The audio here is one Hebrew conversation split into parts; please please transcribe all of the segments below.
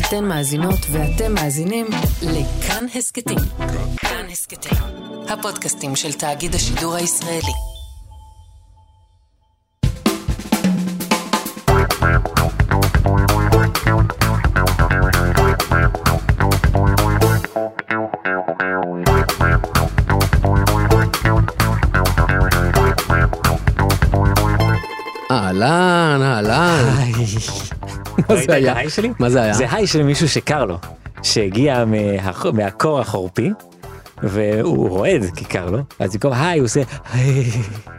אתן מאזינות ואתם מאזינים לכאן הסכתים. כאן הסכתים, הפודקאסטים של תאגיד השידור הישראלי. אהלן, אהלן. מה ראית זה את היה? ההיי שלי? מה זה היה? זה היי של מישהו שקר לו, שהגיע מה- מהקור החורפי, והוא רועד כי קר לו, אז במקום היי הוא עושה היי.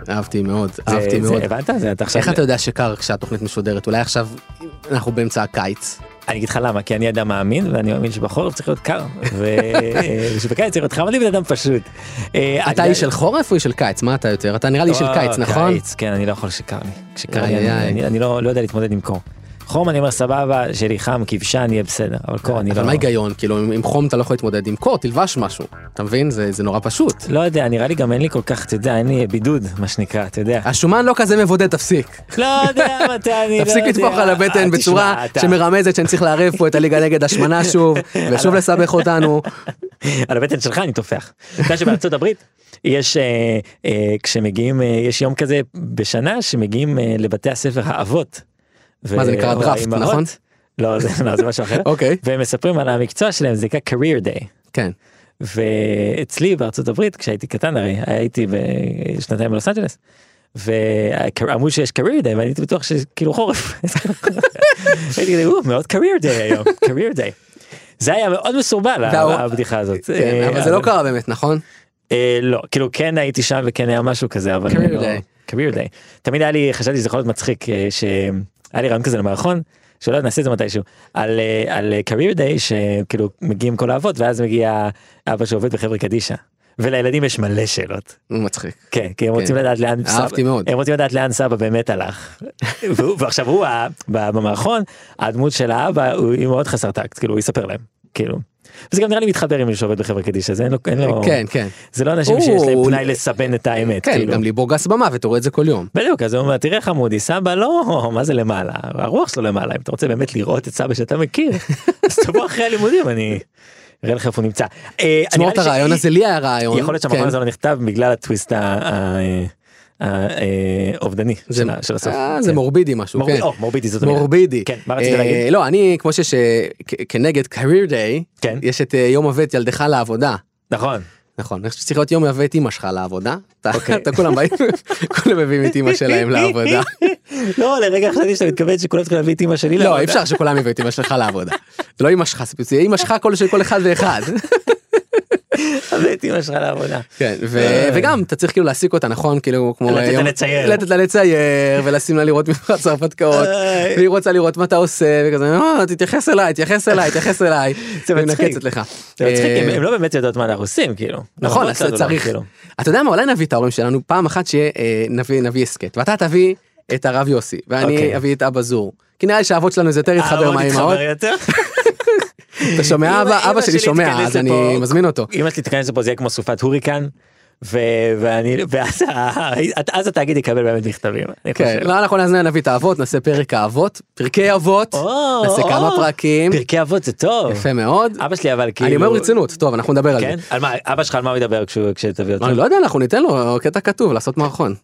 אהבתי מאוד, זה- אהבתי זה- מאוד. הבנת? זה אתה עכשיו... איך אתה יודע שקר כשהתוכנית משודרת? אולי עכשיו אנחנו באמצע הקיץ. אני אגיד לך למה, כי אני אדם מאמין, ואני מאמין שבחורף צריך להיות קר, ו- אה, ושבקיץ צריך להיות חמדי בן אדם פשוט. אה, אתה אני- איש של חורף או איש של קיץ? מה אתה יותר? אתה נראה לי איש של או, קיץ, נכון? אה, קיץ, כן, אני לא יכול שקר לי. כשקר איי, לי, אני- איי. אני- אני לא לא יודע להתמודד עם קור. חום אני אומר סבבה, שלי חם, כבשן, יהיה בסדר, אבל קור אני לא... אבל מה ההיגיון? כאילו, עם- עם חום אתה לא יכול להתמודד, עם קור תלבש משהו. אתה מבין? זה זה נורא פשוט. לא יודע, נראה לי גם אין לי כל כך, אתה יודע, אין לי בידוד, מה שנקרא, אתה יודע. השומן לא כזה מבודד, תפסיק. לא יודע מתי אני לא יודע. אה, תפסיק לטפוח על הבטן תשמע, בצורה אתה- שמרמזת שאני צריך לערב פה את הליגה נגד השמנה שוב, ושוב לסבך אותנו. על הבטן שלך אני טופח. אתה יודע שבארצות הברית יש אה, אה, כשמגיעים אה, יש יום כזה בשנה שמגיעים אה, לבתי הספר האבות. ו- מה, זה נקרא או דראפט, האימהות. נכון? לא זה לא, זה משהו אחר. אוקיי. והם מספרים על המקצוע שלהם זה נקרא career day. כן. ואצלי בארצות הברית כשהייתי קטן הרי הייתי בשנתיים בלוס אנג'לס. ואמרו שיש career day ואני הייתי בטוח שכאילו חורף. הייתי כזה "או, מאוד career day היום career day. זה היה מאוד מסורבל וההור- הבדיחה הזאת. כן, אה, אבל זה לא קרה באמת, נכון? אה, לא כאילו כן הייתי שם וכן היה משהו כזה אבל Career אני לא- day. career day תמיד היה לי חשבתי שזה יכול להיות מצחיק אה, שהיה לי רעיון כזה למערכון שאולי נעשה את זה מתישהו על אה, על אה, career day שכאילו מגיעים כל האבות ואז מגיע אבא שעובד בחברה קדישא ולילדים יש מלא שאלות. הוא מצחיק. כן, כי הם רוצים לדעת לאן אהבתי מאוד. הם רוצים לדעת לאן סבא באמת הלך. והוא- ועכשיו הוא ה- ב- במערכון הדמות של האבא הוא היא מאוד חסר טקט כאילו הוא יספר להם כאילו. וזה גם נראה לי מתחבר עם מי שעובד בחברה קדישא זה אין לו, אין לו כן, כן. זה לא אנשים שיש להם הוא- פנאי לסבן את האמת. כן, כאילו. גם ליבו גס במוות, אתה רואה את זה כל יום. בדיוק, אז הוא אומר, תראה חמודי, סבא לא, מה זה למעלה? הרוח שלו למעלה, אם אתה רוצה באמת לראות את סבא שאתה מכיר, אז תבוא אחרי הלימודים, אני אראה לך איפה הוא נמצא. אה, תשמור נראה את לי הרעיון ש- הזה, לי היה רעיון. יכול להיות שהמכון כן. הזה לא נכתב בגלל הטוויסט ה- ה- ה- האובדני זה- של ה- של הסוף. אה, זה כן. מורבידי משהו, מורבידי, כן. או, מורבידי זאת המילה. מורבידי. כן, מה רצית אה, להגיד? לא, אני, כמו שיש אה, כ- כנגד career day, כן. יש את אה, יום הבאת ילדך לעבודה. נכון. נכון, אני חושב שצריך להיות יום הבאת אימא שלך לעבודה. אתה אוקיי. אתה כולם באים, כולם מביאים את אימא שלהם לעבודה. לא, לרגע חשבתי שאתה מתכוון שכולם צריכים להביא את אמא שלי לא, לעבודה. אי אפשר שכולם יביאו את אימא שלך לעבודה. זה לא אימא שלך, ספציפית, זה אימא שלך כל של כל אחד ואחד. להביא את אמא שלך לעבודה. כן, ו- אה. וגם אתה צריך כאילו להעסיק אותה נכון כאילו כמו לתת לה יום- לצייר. לתת לה לצייר ולשים לה לראות מבחן צרפתקאות איי. והיא רוצה לראות מה אתה עושה וכזה "אה, תתייחס אליי תתייחס אליי תתייחס אליי. זה והיא מצחיק. מנקצת לך. זה מצחיק, הם- אה, הם לא באמת יודעות מה אנחנו עושים, כאילו. נכון לא, אז לא יודעות צריך כאילו. אתה יודע מה אולי נביא את ההורים שלנו פעם אחת שנביא נביא הסכת ואתה תביא את הרב יוסי ואני אוקיי. אביא את אבא זור. כי נראה לי שהאבות שלנו זה יותר יתחבר אה, הוא מהאימהות. מתחבר יותר? אתה שומע אמא- אבא אמא אבא שלי שלי שומע תיכנס אז אני לפה. מזמין אותו. אם את תיכנס לפה זה יהיה כמו סופת הוריקן. ו- ואני ואז ה- אז התאגיד יקבל באמת מכתבים. אני כן, חושב. לא, אנחנו נזמין נביא את האבות נעשה פרק האבות פרקי אבות או, נעשה או. כמה פרקים. פרקי אבות זה טוב. יפה מאוד. אבא שלי אבל כאילו. אני אומר ברצינות, טוב אנחנו נדבר על זה. כן? על מה אבא שלך על מה הוא ידבר כשהוא- כשתביא אותו? אני לא יודע, אנחנו ניתן לו קטע כתוב לעשות מערכון.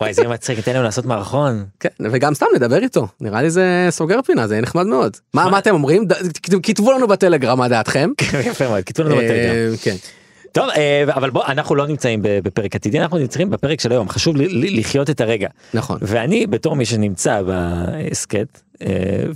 וואי זה יהיה מצחיק ניתן להם לעשות מערכון. כן, וגם סתם נדבר איתו, נראה לי זה סוגר פינה, זה יהיה נחמד מאוד. מה מה אתם אומרים? ד- כת- כתבו לנו בטלגרם מה דעתכם. יפה מאוד כן, כתבו לנו בטלגרם. אה, כן. טוב אה, אבל בוא אנחנו לא נמצאים ב- בפרק עתידי אנחנו נמצאים בפרק של היום חשוב לי- לי- לחיות את הרגע. נכון. ואני בתור מי שנמצא בהסכת אה,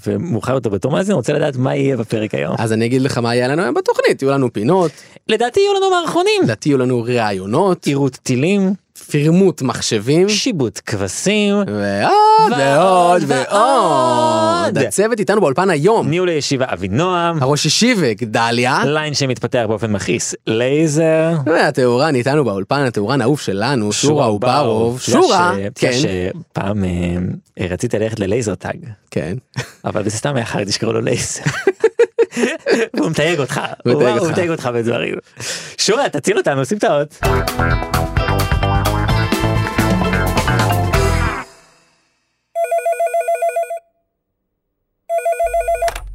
ומוכר אותו בתור מאזין רוצה לדעת מה יהיה בפרק היום. אז אני אגיד לך מה יהיה לנו היום בתוכנית, יהיו לנו פינות, לדעתי יהיו לנו מערכונים. לדעתי יהיו לנו ראיונות, עירות טילים, פרמוט מחשבים, שיבוט כבשים, ועוד ועוד ועוד, ועוד. ועוד. הצוות איתנו באולפן היום, ניהול הישיבה אבינועם, הראש השיבק, דליה, ליין שמתפתח באופן מכעיס, לייזר. והתאורן איתנו באולפן, התאורן האהוב שלנו, שורה אוברוב, אתה יודע שורה, ש- אתה כן, יודע שפעם אה, רצית ללכת ללייזר טאג, כן, אבל זה סתם היה חרדי שקראו לו לייזר. הוא מתייג אותך, הוא הוא מתייג הוא אותך. מתייג אותך בדברים. שורה, תציל אותנו, שים את האות.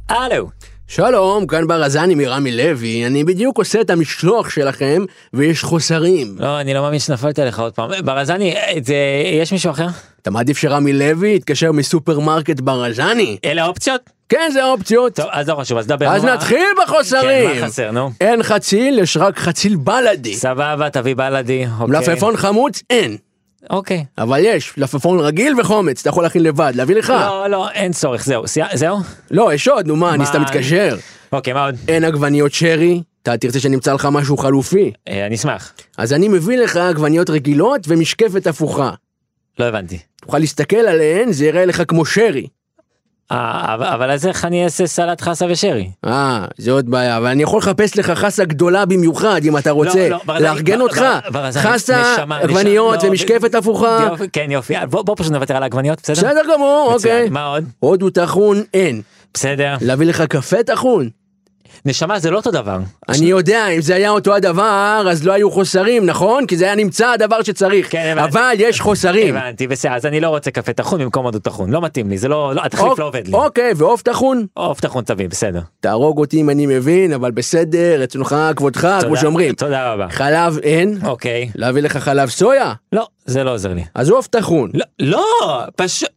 הלו. שלום, כאן ברזני מרמי לוי, אני בדיוק עושה את המשלוח שלכם ויש חוסרים. לא, אני לא מאמין שנפלתי עליך עוד פעם. ברזני, את זה, יש מישהו אחר? אתה מעדיף שרמי לוי יתקשר מסופרמרקט ברזני? אלה האופציות? כן, זה האופציות. טוב, אז לא חשוב, אז דבר. אז נו, מה- נתחיל כן, בחוסרים. מה חסר, נו? אין חציל, יש רק חציל בלאדי. סבבה, תביא בלאדי, אוקיי. מלפפון חמוץ אין, אוקיי. אבל יש, מלפפון רגיל וחומץ, אתה יכול להכין לבד, להביא לך. לא, לא, אין צורך, זהו. סי- זהו? לא, יש עוד, נו מה, אני מה? סתם מתקשר. אוקיי, מה עוד? אין עגבניות שרי, אתה תרצה שנמצא לך משהו חלופי. אה, אני אשמח. אז אני מביא לך עגבניות רגילות ומשקפת הפוכה. לא הבנתי. תוכל להסתכל עליהן, זה יראה לך כמו שרי. אה, אבל- אבל אז איך אני אעשה סלט חסה ושרי? אה, זה עוד בעיה, אבל אני יכול לחפש לך חסה גדולה במיוחד, אם אתה רוצה. לא, ברזני, לארגן בר- אותך. בר- ברזני, חסה, נשמה, עגבניות נשמה, לא, ומשקפת ב- הפוכה. יופי, כן, יופי. בוא בוא פשוט נוותר על העגבניות, בסדר? בסדר גמור, מצוין. אוקיי. מה עוד? הודו טחון אין. בסדר. להביא לך קפה טחון? נשמה זה לא אותו דבר. אני יודע, אם זה היה אותו הדבר, אז לא היו חוסרים, נכון? כי זה היה נמצא הדבר שצריך. כן, הבנתי. אבל יש חוסרים. הבנתי, בסדר, אז אני לא רוצה קפה טחון במקום עוד טחון, לא מתאים לי, זה לא, לא- התחליף אוק- לא עובד לי. אוקיי, אה, ועוף טחון? עוף טחון תביא, בסדר. תהרוג אותי אם אני מבין, אבל בסדר, רצונך כבודך, כמו תודה- שאומרים. תודה רבה. חלב אין? אוקיי. להביא לך חלב סויה? לא, זה לא עוזר לי. אז עוף טחון. לא, לא, פשוט...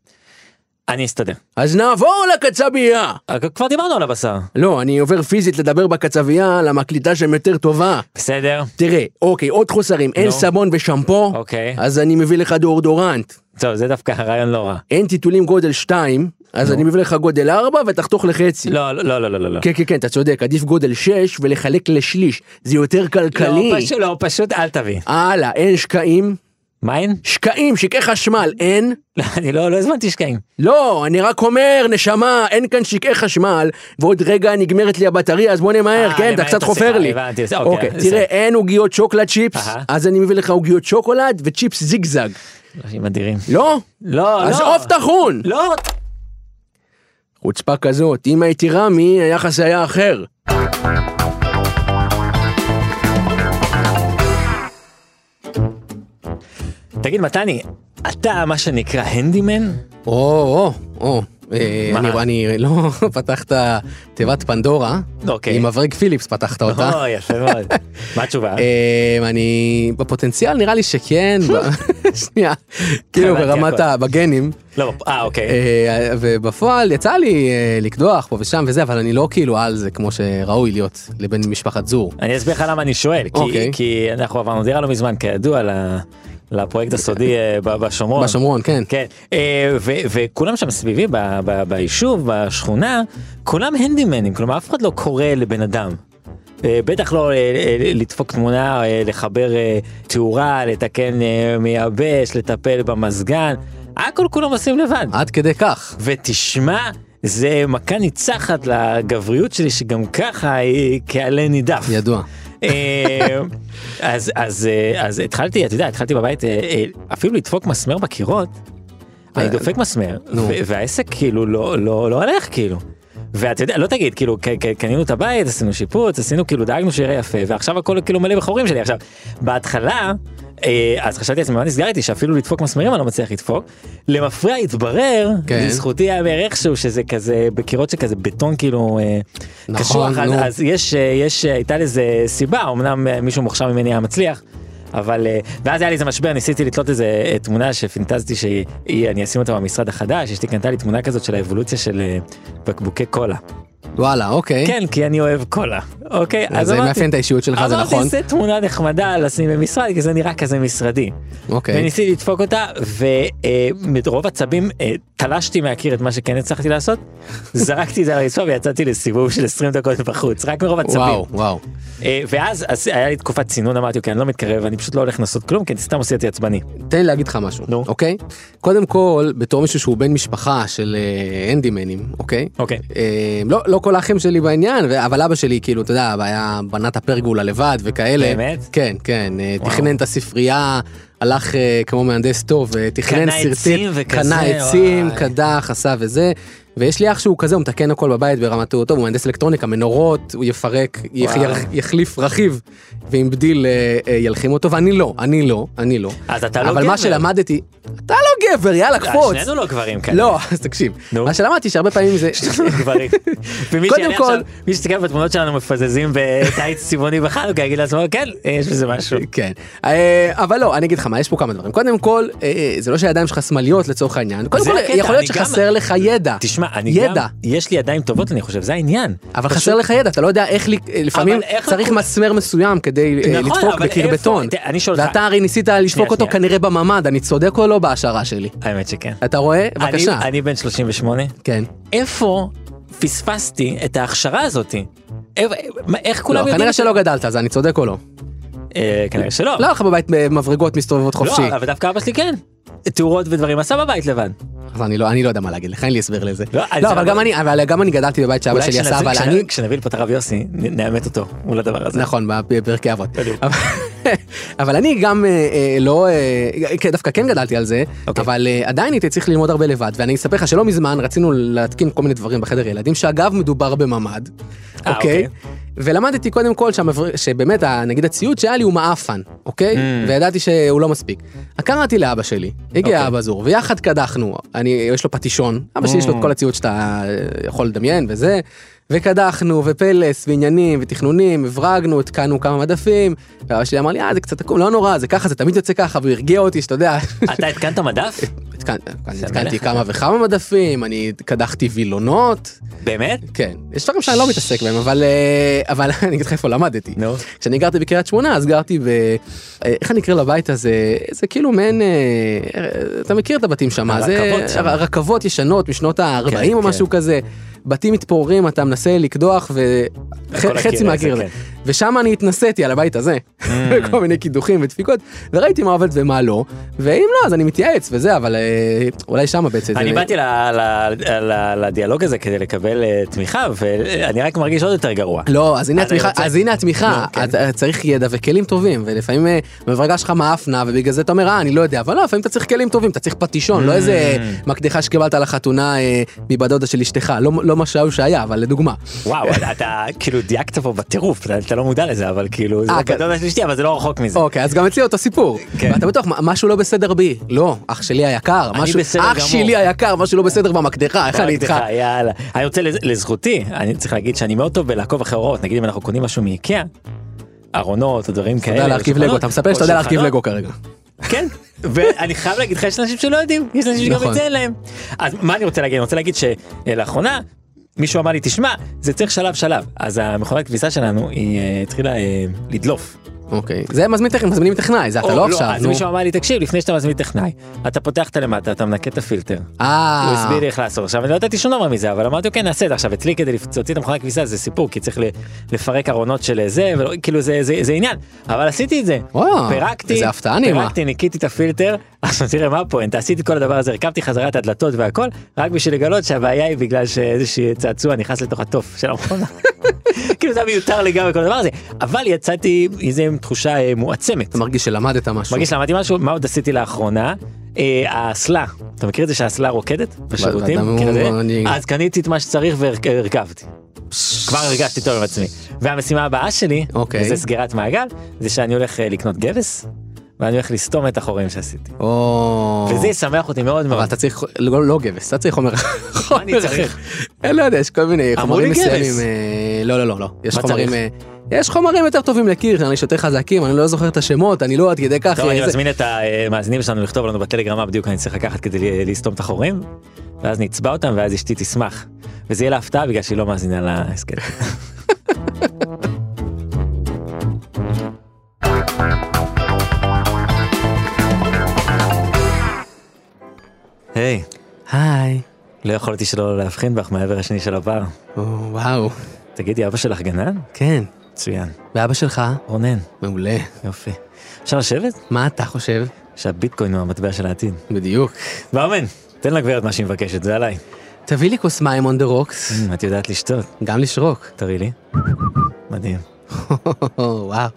אני אסתדר. אז נעבור לקצבייה. אה, כבר דיברנו על הבשר. לא, אני עובר פיזית לדבר בקצבייה, למה הקליטה שם יותר טובה. בסדר, תראה, אוקיי, עוד חוסרים, אין נו. סבון ושמפו, לא. אוקיי. אז אני מביא לך דאורדורנט. טוב, זה דווקא רעיון לא רע. אין טיטולים גודל 2, אז אני מביא לך גודל 4 ותחתוך לחצי. לא, לא, לא, לא, לא, לא. כן, כן, כן, אתה צודק, עדיף גודל 6 ולחלק לשליש, זה יותר כלכלי. לא, פשוט, לא, פשוט אל תביא. הלאה, אין שקעים. מיין? שקעים, שקעי חשמל, אין? לא, אני לא, לא הזמנתי שקעים. לא, אני רק אומר, נשמה, אין כאן שקעי חשמל, ועוד רגע נגמרת לי הבטריה, אז בוא נמהר, אה, כן, אתה נמהר קצת את חופר השיחה, לי. הבנתי, בסדר, אוקיי, אוקיי, תראה, בסדר. אין עוגיות שוקולד צ'יפס, אהה. אז אני מביא לך עוגיות שוקולד וצ'יפס זיגזג. אנשים אדירים. לא? לא, לא. אז עוף טחון! לא. חוצפה כזאת, אם הייתי רמי, היחס היה אחר. תגיד, מתני, אתה מה שנקרא הנדימן? או, או, או. אה, מה? אני, אני לא פתחת תיבת פנדורה, אוקיי. נכון. עם מברג פיליפס פתחת אותה. או, יפה מאוד. מה התשובה? אה, אני בפוטנציאל נראה לי שכן, ב- שנייה, כאילו הבנתי ברמת הכל. ה- בגנים, לא, אה, אוקיי. אה, ובפועל יצא לי אה, לקדוח פה ושם וזה, אבל אני לא כאילו על זה כמו שראוי להיות לבן משפחת זור. אני אסביר לך למה אני שואל, כי- אוקיי. כי אנחנו עברנו דירה לא מזמן, כידוע, ל- לפרויקט הסודי אה, ב- בשומרון. בשומרון, כן. כן, אה, ו- וכולם שם סביבי, ב- ב- ביישוב, בשכונה, כולם הנדימנים, כלומר אף אחד לא קורא לבן אדם. אה, בטח לא אה, אה, לדפוק תמונה, אה, לחבר אה, תאורה, לתקן אה, מייבש, לטפל במזגן, הכל כולם עושים לבד. עד כדי כך. ותשמע, זה מכה ניצחת לגבריות שלי, שגם ככה היא כעלה נידף. ידוע. אה, אז, אז, אה, אז התחלתי, אתה יודע, התחלתי בבית אה, אה, אפילו לדפוק מסמר בקירות, אני דופק מסמר, אה, נו. ו- והעסק כאילו לא, לא, לא הלך כאילו. ואתה יודע, לא תגיד, כאילו, ק- ק- קנינו את הבית, עשינו שיפוץ, עשינו, כאילו, דאגנו שיראה יפה, ועכשיו הכל כאילו מלא בחורים שלי. עכשיו, בהתחלה, אה, אז חשבתי לעצמי, מה נסגר איתי, שאפילו לדפוק מסמרים אני לא מצליח לדפוק. למפרע התברר, כן. לזכותי היה איכשהו שזה כזה, בקירות שכזה בטון כאילו, אה, נכון, קשוח, אז, נו. אז יש, אה, יש, אה, הייתה לזה סיבה, אמנם אה, מישהו מוכשר ממני היה מצליח. אבל אה, ואז היה לי איזה משבר ניסיתי לתלות איזה אה, תמונה שפינטזתי שאני אשים אותה במשרד החדש אשתי קנתה לי תמונה כזאת של האבולוציה של אה, בקבוקי קולה. וואלה, אוקיי. כן כי אני אוהב קולה אוקיי אז אה? זה אמרתי- מאפיין את האישיות שלך, זה נכון. אמרתי זה תמונה נחמדה לשים במשרד כי זה נראה כזה משרדי. אוקיי. וניסיתי לדפוק אותה ומרוב עצבים אה, תלשתי מהקיר את מה שכן הצלחתי לעשות זרקתי את זה על הרצפה ויצאתי לסיבוב של 20 דקות בחוץ רק מרוב עצבים. וואו, וואו. אה, ואז אז היה לי תקופת צינון אמרתי אוקיי אני לא מתקרב אני פשוט לא הולך לעשות כלום כי אני סתם עושה אותי עצבני. תן לי להגיד לך משהו, נו. אוקיי? קודם כל, בתור מישהו שהוא בן משפחה של אה, הנדימנים, אוקיי? אוקיי. אה, לא, לא כל האחים שלי בעניין, ו- אבל אבא שלי, כאילו, אתה יודע, היה בנת הפרגולה לבד וכאלה. באמת? כן, כן. אה, וואו. תכנן את הספרייה, הלך אה, כמו מהנדס טוב, אה, תכנן קנה סרטי... עצים וכזה, קנה עצים, וואי. קדח, עשה וזה. ויש לי אח שהוא כזה, הוא מתקן הכל בבית ברמת הוא טוב, הוא מהנדס אלקטרוניקה, מנורות, הוא יפרק, יח, וואו. יח, יחליף רכיב, ועם בדיל אה, אה, ילחים אותו, ואני לא, אני לא, אני לא. אז אתה לא אבל גבר. מה שלמדתי, אתה לא גבר, יאללה, קפוץ. שנינו לא גברים כאלה. לא לא, אז תקשיב, נו. מה שלמדתי שהרבה פעמים זה... גברים. ומי קודם שיעלה כל- עכשיו- מי שתסתכל בתמונות שלנו מפזזים בטייץ צבעוני בחנוכה יגיד לעצמו כן יש בזה משהו. כן, אה, אבל לא, אני אגיד לך מה, יש פה כמה דברים. קודם כל, אה, אה, זה לא שהידיים שלך שמאליות לצורך העניין, קודם זה כל, הקטע, יכול להיות אני שחסר גם- לך ידע. תשמע אני גם ידע. יש לי ידיים טובות אני חושב זה העניין. אבל פשוט- חסר לך ידע, אתה לא יודע איך, לק- לפעמים איך צריך לקחו- מסמר מסוים כדי אה, נכון, לדפוק אבל בקיר איפה? בטון. ת- אני שואל אותך- ואתה הרי ניסית לדפוק שנייה, אותו שנייה. כנראה בממ"ד, אני צודק או לא בהשערה שלי? האמת שכן. אתה רואה? בבקשה. אני, אני בן 38 כן. איפה פספסתי את ההכשרה הזאתי. איפה- מה- איך כולם לא, יודעים? כנראה את זה? שלא גדלת, אז אני צודק או לא. אה, כנראה שלא. לא היה לך בבית אה, מברגות מסתובבות חופשי. לא, אבל דווקא אבא שלי כן. תאורות ודברים עשה בבית לבד. אז אני לא אני לא יודע מה להגיד לך, אין לי הסבר לזה. לא, אני- לא, אבל גם אני, אבל גם אני גדלתי בבית שאבא שלי עשה, אבל כשנביא- אני... כשנביא לפה את הרב יוסי נ- נאמת אותו מול הדבר הזה. נכון, בפרקי אבות. בדיוק. אבל- אבל אני גם אה, אה, לא, אה, כן, דווקא כן גדלתי על זה, אוקיי. אבל אה, עדיין הייתי צריך ללמוד הרבה לבד, ואני אספר לך שלא מזמן רצינו להתקין כל מיני דברים בחדר ילדים, שאגב מדובר בממ"ד, אה, אוקיי? אוקיי. ולמדתי קודם כל שהמבר- שבאמת, ה- נגיד הציוד שהיה לי הוא מעפן, אוקיי? וידעתי שהוא לא מספיק. קראתי לאבא שלי, הגיע Mm. אוקיי. אבא זור, ויחד קדחנו, אני, יש לו פטישון, אבא שלי יש לו Mm. את כל הציוד שאתה אה, יכול לדמיין וזה, וקדחנו, ופלס, ועניינים, ותכנונים, הברגנו, התקנו כמה מדפים, ואבא שלי אמר לי, אה, זה קצת עקום, לא נורא, זה ככה, זה תמיד יוצא ככה, והוא הרגיע אותי, שאתה יודע, אתה התקנת מדף? התקן- אני זה התקנתי מלך. כמה וכמה מדפים, אני קדחתי וילונות, באמת? כן, יש דברים שאני לא מתעסק בהם, אבל אה, אבל אני אגיד לך איפה למדתי. נו. כשאני גרתי בקריית שמונה, אז גרתי ב... אה, איך אני אקרא לבית הזה? זה כאילו מעין... אה, אה, אתה מכיר את הבתים שם, זה הרכבות שם. הר- רכבות ישנות משנות ה-40 כן, או כן. משהו כזה. בתים מתפוררים, אתה מנסה לקדוח הכל וחצי הקיר, כן. Mm. מהקיר זה הזה. ושם אני התנסיתי על הבית הזה, כל מיני קידוחים ודפיקות, וראיתי מה עובד ומה לא, ואם לא אז אני מתייעץ וזה, אבל אה, אולי שם בעצם... זה- אני באתי ל- ל- ל- לדיאלוג הזה כדי לקבל אה, תמיכה ואני רק מרגיש עוד יותר גרוע. לא, אז הנה אז אני התמיכה, רוצה- אז הנה התמיכה, לא, כן. אתה- צריך ידע וכלים טובים, ולפעמים אה, המברגה שלך מאפנה, ובגלל זה אתה אומר, אה, אני לא יודע, אבל לא, לפעמים אתה צריך כלים טובים, אתה צריך פטישון, לא איזה אה, Mm. מקדחה שקיבלת לחתונה אה, מבת דודה של אשתך, לא- לא מה שהיו שהיה, אבל לדוגמה. וואו אתה כאילו דייקת פה בטירוף אתה- אתה לא מודע לזה אבל כאילו זה אה, כן. בגדול השלישי אבל זה לא רחוק מזה. אוקיי, אז גם אצלי אותו סיפור. כן. ואתה בטוח, "מה- משהו לא בסדר בי. לא, אח שלי היקר, אני משהו, בסדר אח גמור. שלי היקר, משהו לא בסדר במקדחה, איך אני רק איתך? לך, אוקיי, יאללה. אני רוצה לז- לזכותי, אני צריך להגיד שאני מאוד טוב בלעקוב אחרי הוראות, נגיד אם אנחנו קונים משהו מאיקאה, ארונות או דברים כאלה. אתה יודע להרכיב שולחנות, לגו, אתה מספר או שאתה יודע להרכיב שולחנות. לגו כרגע. כן, ואני חייב להגיד לך, יש אנשים שלא יודעים, יש אנשים שגם נכון. את זה אין להם. אז מה אני רוצה להגיד? אני רוצה להגיד שלאחרונה מישהו אמר לי, תשמע, זה צריך שלב שלב. אז המכונת כביסה שלנו, היא אה, התחילה אה, לדלוף. אוקיי, זה מזמין טכנאי, מזמינים טכנאי, זה אתה או, לא עכשיו, אז נו. מישהו אמר לי, תקשיב, לפני שאתה מזמין טכנאי, אתה פותח את הלמטה, אתה מנקה את הפילטר, הוא אה, הסביר לי איך לעשות עכשיו אני לא ידעתי שום דבר מזה אבל אמרתי אוקיי נעשה את זה עכשיו אצלי כדי לפ- להוציא את המכונת כביסה זה סיפור כי צריך ל- לפרק ארונות של זה ולא- כאילו זה זה זה עניין אבל עשיתי את זה וואו, פירקתי איזה הפתעה נעימה. פירקתי ניקיתי את הפילטר עכשיו תראה מה הפואנט עשיתי את כל הדבר הזה הרכבתי חזרה את הדלתות והכל רק בשביל לגלות שהבעיה היא בגלל שאיזשהו צעצוע נכנס לתוך התוף של המכונה. כאילו זה היה מיותר לגמרי כל הדבר הזה אבל יצאתי מזה עם תחושה אה, מועצמת. אתה מרגיש שלמדת משהו. מרגיש למדתי משהו מה עוד עשיתי לאחרונה אה, האסלה אתה מכיר את זה שהאסלה רוקדת בשירותים ואדם כן, הוא- זה? אני- אז קניתי את מה שצריך והרכבתי. כבר הרגשתי טוב עם עצמי והמשימה הבאה שלי אוקיי. וזה סגירת מעגל זה שאני הולך אה, לקנות גבס ואני הולך לסתום את החורים שעשיתי או... וזה ישמח אותי מאוד אבל מאוד. אתה צריך לא לא גבס אתה צריך חומר חומר אני צריך? אחר. אני לא יודע יש כל מיני אמרו חומרים לי גבס. מסוימים אה, לא לא לא לא יש מה חומרים צריך? אה, יש חומרים יותר טובים לקיר שאני שותה חזקים אני לא זוכר את השמות אני לא עד כדי כך טוב, אה, אני זה- מזמין את המאזינים שלנו לכתוב לנו בטלגרם מה בדיוק אני צריך לקחת כדי לסתום את החורים ואז נצבע אותם ואז אשתי תשמח וזה יהיה לה הפתעה בגלל שהיא לא מאזינה להסכת. היי, היי לא יכולתי שלא להבחין בך מהעבר השני של הבר. או, וואו תגידי, אבא שלך גנן? כן מצוין. ואבא שלך רונן, מעולה יופי. אפשר לשבת? מה אתה חושב שהביטקוין הוא המטבע של העתיד. בדיוק מאמן, תן לגברת מה שהיא מבקשת, זה עליי. Mm, תביא לי כוס מים on the rocks את יודעת לשתות, גם לשרוק תראי לי. מדהים. וואו.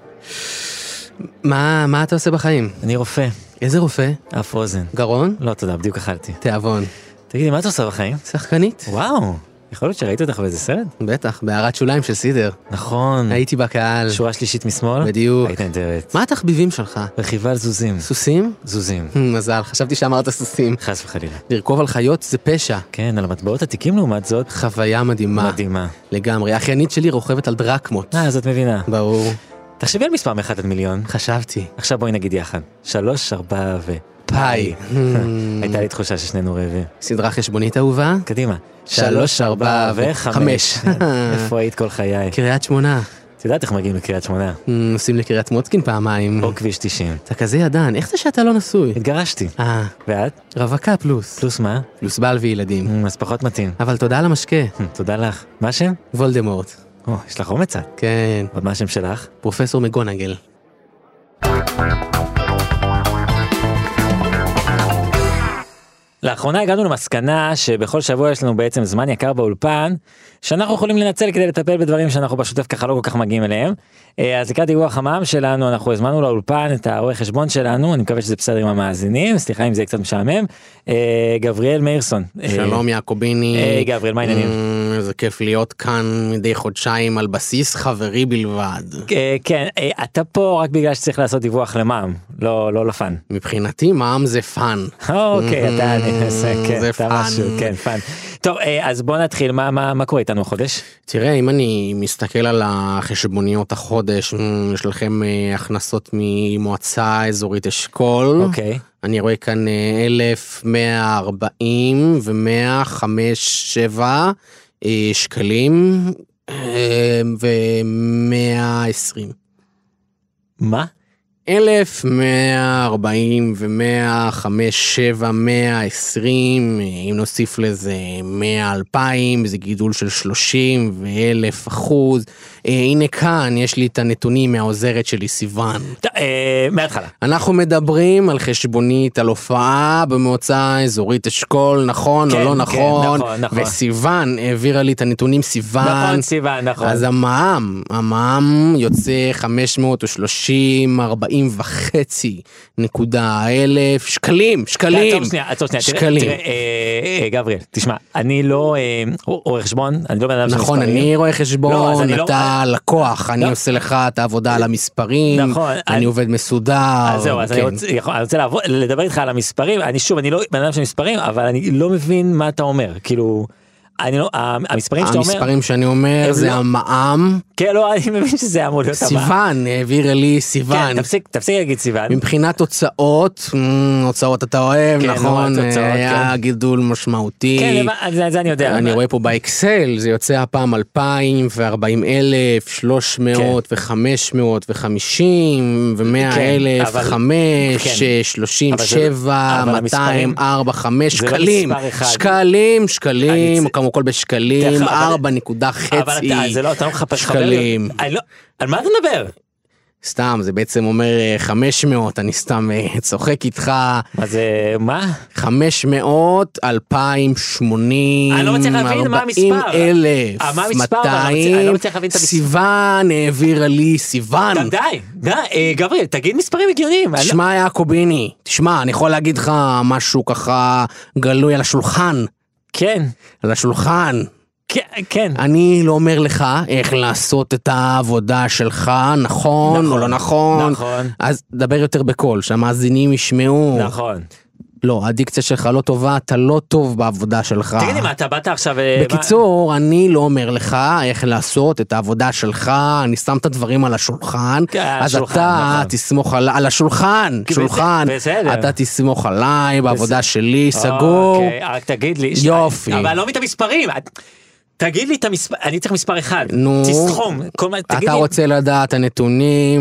מה מה אתה עושה בחיים אני רופא, איזה רופא אף אוזן. גרון לא, תודה, בדיוק אכלתי. תיאבון תגידי, מה את עושה בחיים? שחקנית. וואו, יכול להיות שראית אותך באיזה סרט? בטח, בהערת שוליים של סידר. נכון. הייתי בקהל. שורה שלישית משמאל? בדיוק. היית נדרת. מה התחביבים שלך? רכיבה על זוזים. סוסים? זוזים. מזל, חשבתי שאמרת סוסים. חס וחלילה. לרכוב על חיות זה פשע. כן, על המטבעות עתיקים לעומת זאת, חוויה מדהימה. מדהימה. לגמרי. האחיינית שלי רוכבת על דרקמות. אה, אז את מבינה. ברור. תחשבי על מספר מ-1 עד מיליון. חשבתי. עכשיו בואי נגיד יחד. שלוש, ארבע ו... פאי. הייתה לי תחושה ששנינו רעבים. סדרה חשבונית אהובה? קדימה. שלוש, ארבע וחמש. כן. וחמש. איפה היית כל חיי? קריית שמונה. את יודעת איך מגיעים לקריית שמונה? אמ, נוסעים לקריית מוצקין פעמיים. או כביש 90. אתה כזה ידען, איך זה שאתה לא נשוי? התגרשתי. אה, ואת? רווקה פלוס. Mm. פלוס מה? פלוס בעל וילדים. אמ, אז פחות מתאים. אבל תודה על המשקה. אמ, תודה לך. מה השם? וולדמורט. או, יש לך אומץ את. כן, עוד מה השם שלך? פרופסור מגונגל. לאחרונה הגענו למסקנה שבכל שבוע יש לנו בעצם זמן יקר באולפן שאנחנו יכולים לנצל כדי לטפל בדברים שאנחנו בשוטף ככה לא כל כך מגיעים אליהם. אה, אז לקראת דיווח המע"מ שלנו אנחנו הזמנו לאולפן את הרואה חשבון שלנו אני מקווה שזה בסדר עם המאזינים סליחה אם זה קצת משעמם אה, גבריאל מאירסון. אה, שלום יעקוביני. היי, גבריאל, מה העניינים? אמ, איזה כיף להיות כאן מדי חודשיים על בסיס חברי בלבד. אה, כן אה, אתה פה רק בגלל שצריך לעשות דיווח למע"מ לא לא לפאן. מבחינתי מע"מ זה פאן. אוקיי אתה אמ, זה כן, זה אתה פאן. משהו, כן פאן. טוב אה, אז בוא נתחיל מה מה מה קורה איתנו החודש. תראה, אם אני מסתכל על החשבוניות החודש, אמ, יש לכם אה, הכנסות ממועצה אזורית אשכול. אוקיי. אני רואה כאן אה, 1,140 ו-157 אה, שקלים אה, ו-120. מה? 1,140 ו-157, 120, אם נוסיף לזה 100, 2,000, זה גידול של 30 ו-1,000 אחוז. אה, הנה כאן, יש לי את הנתונים מהעוזרת שלי, סיוון. טוב, אה, מההתחלה. אנחנו מדברים על חשבונית, על הופעה במועצה אזורית אשכול, נכון כן, או לא כן, נכון? נכון, נכון. וסיוון העבירה לי את הנתונים, סיוון. נכון סיוון נכון. אז המע"מ, המע"מ יוצא 530, 40 וחצי נקודה אלף שקלים, שקלים. עצור אה, שנייה, עצור שנייה, תראה, שקלים. תראה, אה, אה, גבריאל, תשמע, אני לא אה, רואה חשבון, אני לא בן אדם של נכון, מספרים. אני רואה לא, אז חשבון, אני לא- אתה לקוח, אני לא. עושה לך את העבודה על המספרים, נכון, אני אני- עובד מסודר. אז אה, זהו, אז אני כן. רוצה- יכול- אני רוצה לעבור- לדבר איתך על המספרים, אני שוב, אני לא בן אדם של מספרים, אבל אני לא מבין מה אתה אומר, כאילו, אני לא, ה- המספרים שאתה אומר, המספרים שאני אומר הם זה לא- המע"מ. כן, לא, אני מבין שזה אמור להיות הבא. סיוון העבירה לי סיוון. כן, תפסיק, תפסיק להגיד סיוון. מבחינת הוצאות, אמ, הוצאות אתה אוהב, כן, נכון, נורא תוצאות, היה כן. גידול משמעותי. כן, זה- זה- זה אני יודע. אני רואה פה באקסל, זה יוצא הפעם 2,040 אלף, 300 כן. ו-550 ו-100 אלף, אה, אבל- 5, כן. 37, אבל המספרים- 200, 4, 5 זה לא שקלים, מספר אחד. אה, שקלים, שקלים, אני- כמו כל בשקלים, אבל- 4 נקודה אבל חצי אתה, זה לא, אתה לא מחפש חבר. שקלים. אני לא- על מה אתה מדבר? סתם, זה בעצם אומר אה, 500, אני סתם אה, צוחק איתך. מה זה, מה? 500, 2,080, אני לא מצליח להבין מה המספר. 40,000, אה, מה המספר? אבל אני לא מצליח- אני לא מצליח להבין את המספר. סיוון העבירה לי, סיוון. די, די, די, אה, גבריאל, תגיד מספרים הגיוניים. אני לא- תשמע יעקוביני, תשמע, אני יכול להגיד לך משהו ככה גלוי על השולחן, כן, על השולחן. כן, כן. אני לא אומר לך איך לעשות את העבודה שלך, נכון או נכון, לא נכון. נכון. אז דבר יותר בקול, שהמאזינים ישמעו. נכון. לא, הדיקציה שלך לא טובה, אתה לא טוב בעבודה שלך. תגיד לי מה אתה באת עכשיו... אה, מה- בקיצור, אני לא אומר לך איך לעשות את העבודה שלך, אני שם את הדברים על השולחן, כן, על אז השולחן, אתה נכון. תסמוך עלי, על השולחן, כי שולחן, בס- בסדר. אתה תסמוך עליי בעבודה שלי, סגור. אוקיי, רק תגיד לי. ש- יופי. אבל לא מבין את המספרים. את- תגיד לי את המספר, אני צריך מספר אחד. נו. תסכום. כל מה, תגיד אתה לי. רוצה לדעת הנתונים,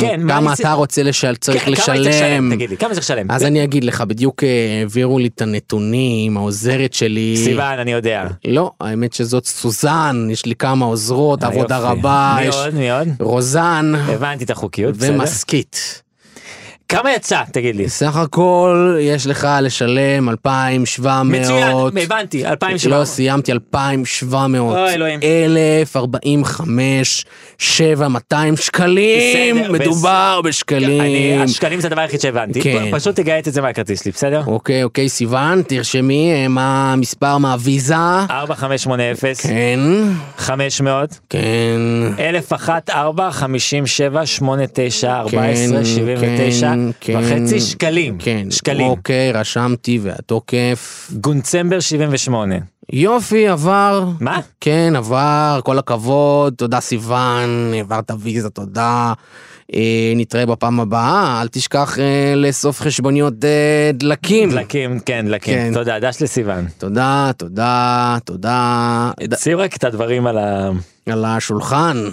כן, מה כמה אני כן, אתה רוצה לשל- צריך כמה אני צריך לשלם. תגיד לי, כמה צריך לשלם? אז אני אגיד לך, בדיוק אה, העבירו לי את הנתונים, העוזרת שלי. סיוון, אני יודע. לא, האמת שזאת סוזן, יש לי כמה עוזרות, עבודה אה, יופי. רבה, יש מאוד, אה, מאוד. רוזן הבנתי את החוקיות, בסדר. ומסכית. כמה יצא תגיד לי. סך הכל יש לך לשלם 2,700. מצוין, הבנתי, 2,700. לא סיימתי 2,700. אוי, אלוהים. 1,045, 7,200 שקלים. בסדר, מדובר אני- בשקלים. השקלים זה הדבר היחיד שהבנתי. כן. פ- פשוט תגייט את זה מהכרטיס שלי, בסדר? אוקיי, אוקיי, סיוון, תרשמי אה, מה המספר מהוויזה. 4580, כן, 500, כן. 1001, 4, 57, 89, 14, כן, 79, כן, וחצי שקלים. כן, שקלים. אוקיי, רשמתי והתוקף. גונצמבר 78. יופי, עבר. מה? כן, עבר, כל הכבוד, תודה סיוון, העברת ויזה, תודה. אה, נתראה בפעם הבאה, אל תשכח אה, לאסוף חשבוניות אה, דלקים. דלקים, כן, דלקים. כן. תודה, דש לסיוון. תודה, תודה, תודה ד- שים רק את הדברים על ה... על השולחן.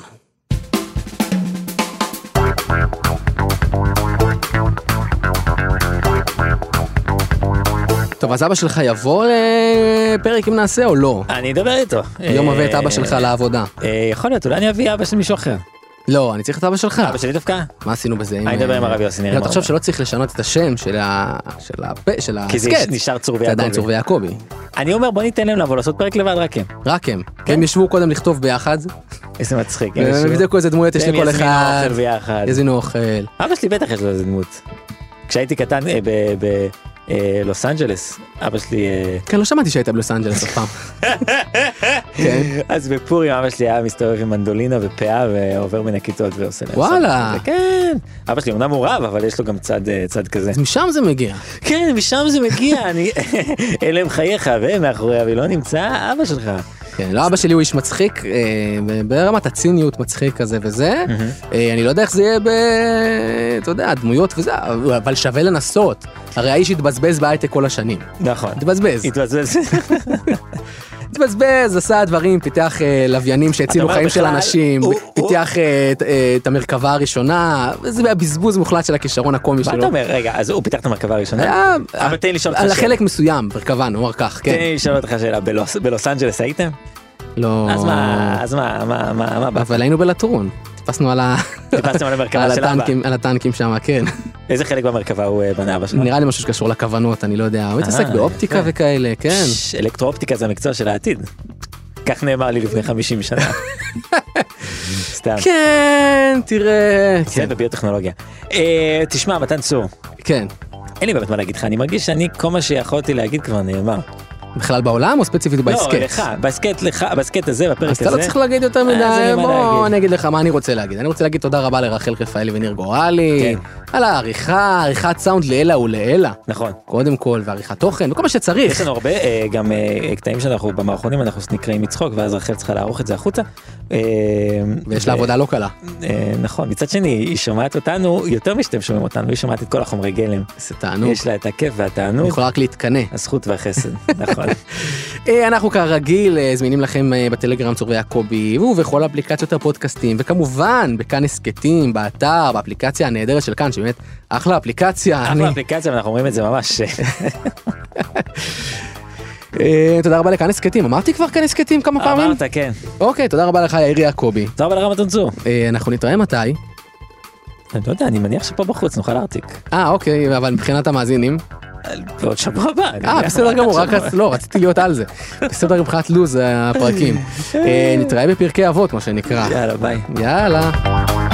טוב, אז אבא שלך יבוא לפרק אם נעשה או לא? אני אדבר איתו. יום אה, הבא את אבא שלך לעבודה. אה, יכול להיות, אולי אני אביא אבא של מישהו אחר. לא, אני צריך את אבא שלך. אבא שלי דווקא? מה עשינו בזה? אני אדבר עם הרב יוסי, נראה לא, מה תחשוב הוא שלא צריך לשנות את השם של ה- של הפ- של כי זה ההסכת. נשאר צור זה עדיין ויעקבי. צור ויעקבי. אני אומר בוא ניתן להם לבוא לעשות פרק לבד רק הם. רק הם. הם ישבו קודם לכתוב ביחד, איזה מצחיק. כן. הם הם ישבו. יבדקו איזה דמויות יש הם לכל יזמינו אחד. אוכל ביחד. יזמינו אוכל. אבא שלי בטח יש לו איזה דמות. כשהייתי קטן אה, ב- ב- אה, לוס אנג'לס, אבא שלי... אה, כן, לא שמעתי שהיית בלוס אנג'לס אף פעם. כן. אז בפורים אבא שלי היה מסתובב עם מנדולינה ופאה ועובר מן הכיתות ועושה להם וואלה. סלט. כן. אבא שלי אמנם הוא רב אבל יש לו גם צד אה, צד כזה. אז משם זה מגיע. כן משם זה מגיע אני אלה הם חייך ומאחורי אבי לא נמצא אבא שלך. כן, לא, אבא שלי הוא איש מצחיק, אה, ברמת הציניות מצחיק כזה וזה. אה, אני לא יודע איך זה יהיה ב... אתה יודע, דמויות וזה, אבל שווה לנסות. הרי האיש התבזבז בהייטק כל השנים. נכון. התבזבז. התבזבז. התבזבז, עשה דברים, פיתח אה, לוויינים אתה שהצילו אומר, חיים של בכלל, אנשים, הוא- פיתח אה, את- אה, את המרכבה הראשונה, זה היה בזבוז מוחלט של הכישרון הקומי מה אתה שלו. אומר רגע אז הוא פיתח את המרכבה הראשונה. היה- אבל תן לי לשאול אותך אה, על שאלה. חלק מסוים, מרכבה, נאמר כך, תן כן. לי לשאול אותך שאלה בלוס- בלוס אנג'לס הייתם? לא... אז מה אז מה מה מה מה בא? אבל היינו בלטרון, טיפסנו על ה- טיפסתם על המרכבה על של אבא. הטנקים- על הטנקים שם, כן. איזה חלק במרכבה הוא אה, בנה אבא שלך? נראה לי משהו שקשור לכוונות, אני לא יודע, הוא התעסק אה, באופטיקה יפה. וכאלה, כן. ש- אלקטרואופטיקה זה המקצוע של העתיד. כך נאמר לי לפני 50 שנה. סתם. כן, תראה. זה בביוטכנולוגיה. אה, תשמע מתן צור, כן. אין לי באמת מה להגיד לך, אני מרגיש שאני כל מה שיכולתי להגיד כבר נאמר. כן. בכלל בעולם או ספציפית בהסכת? לא, לך, בהסכת לך, בהסכת הזה, בפרק אז הזה. אה, אתה לא צריך להגיד יותר אז אין לי מדי, מה בוא להגיד. אני אגיד לך מה אני רוצה להגיד. אני רוצה להגיד תודה רבה לרחל רפאלי וניר גורלי, כן. על העריכה, עריכת סאונד לעילא ולעילא. נכון. קודם כל, ועריכת תוכן, וכל מה יש שצריך. לנו הרבה אה, גם אה, קטעים שאנחנו במערכונים אנחנו נקראים מצחוק ואז רחל צריכה לערוך את זה החוצה. אה, ויש לה ו- עבודה לא קלה. אה, נכון מצד שני היא שומעת אותנו יותר משאתם שומעים אותנו היא שומעת את כל החומרי גלם. זה תענוג. יש לה את הכיף אני והתענוג. יכול רק להתקנא. הזכות והחסד, נכון. אה, אנחנו כרגיל אה, זמינים לכם אה, בטלגרם צור ויעקבי ובכל אפליקציות הפודקאסטים וכמובן בכאן הסכתים באתר באפליקציה הנהדרת של כאן שבאמת אחלה אפליקציה. אחלה אני- אפליקציה ואנחנו אומרים את זה ממש. אה, תודה רבה לכאן הסכתים אמרתי כבר כאן הסכתים כמה פעמים? אמרת כן. אוקיי תודה רבה לך יאיר יעקבי. תודה רבה לרמת צור. אה, אנחנו נתראה מתי? אני לא יודע, אני מניח שפה בחוץ נוכל להרתיק. אה אוקיי אבל מבחינת המאזינים בעוד שבוע הבא. אני אה מניח, בסדר רק גמור רק עכשיו. אז- לא רציתי להיות על זה בסדר מבחינת לו"ז הפרקים אה, נתראה בפרקי אה, אבות מה שנקרא יאללה ביי. יאללה.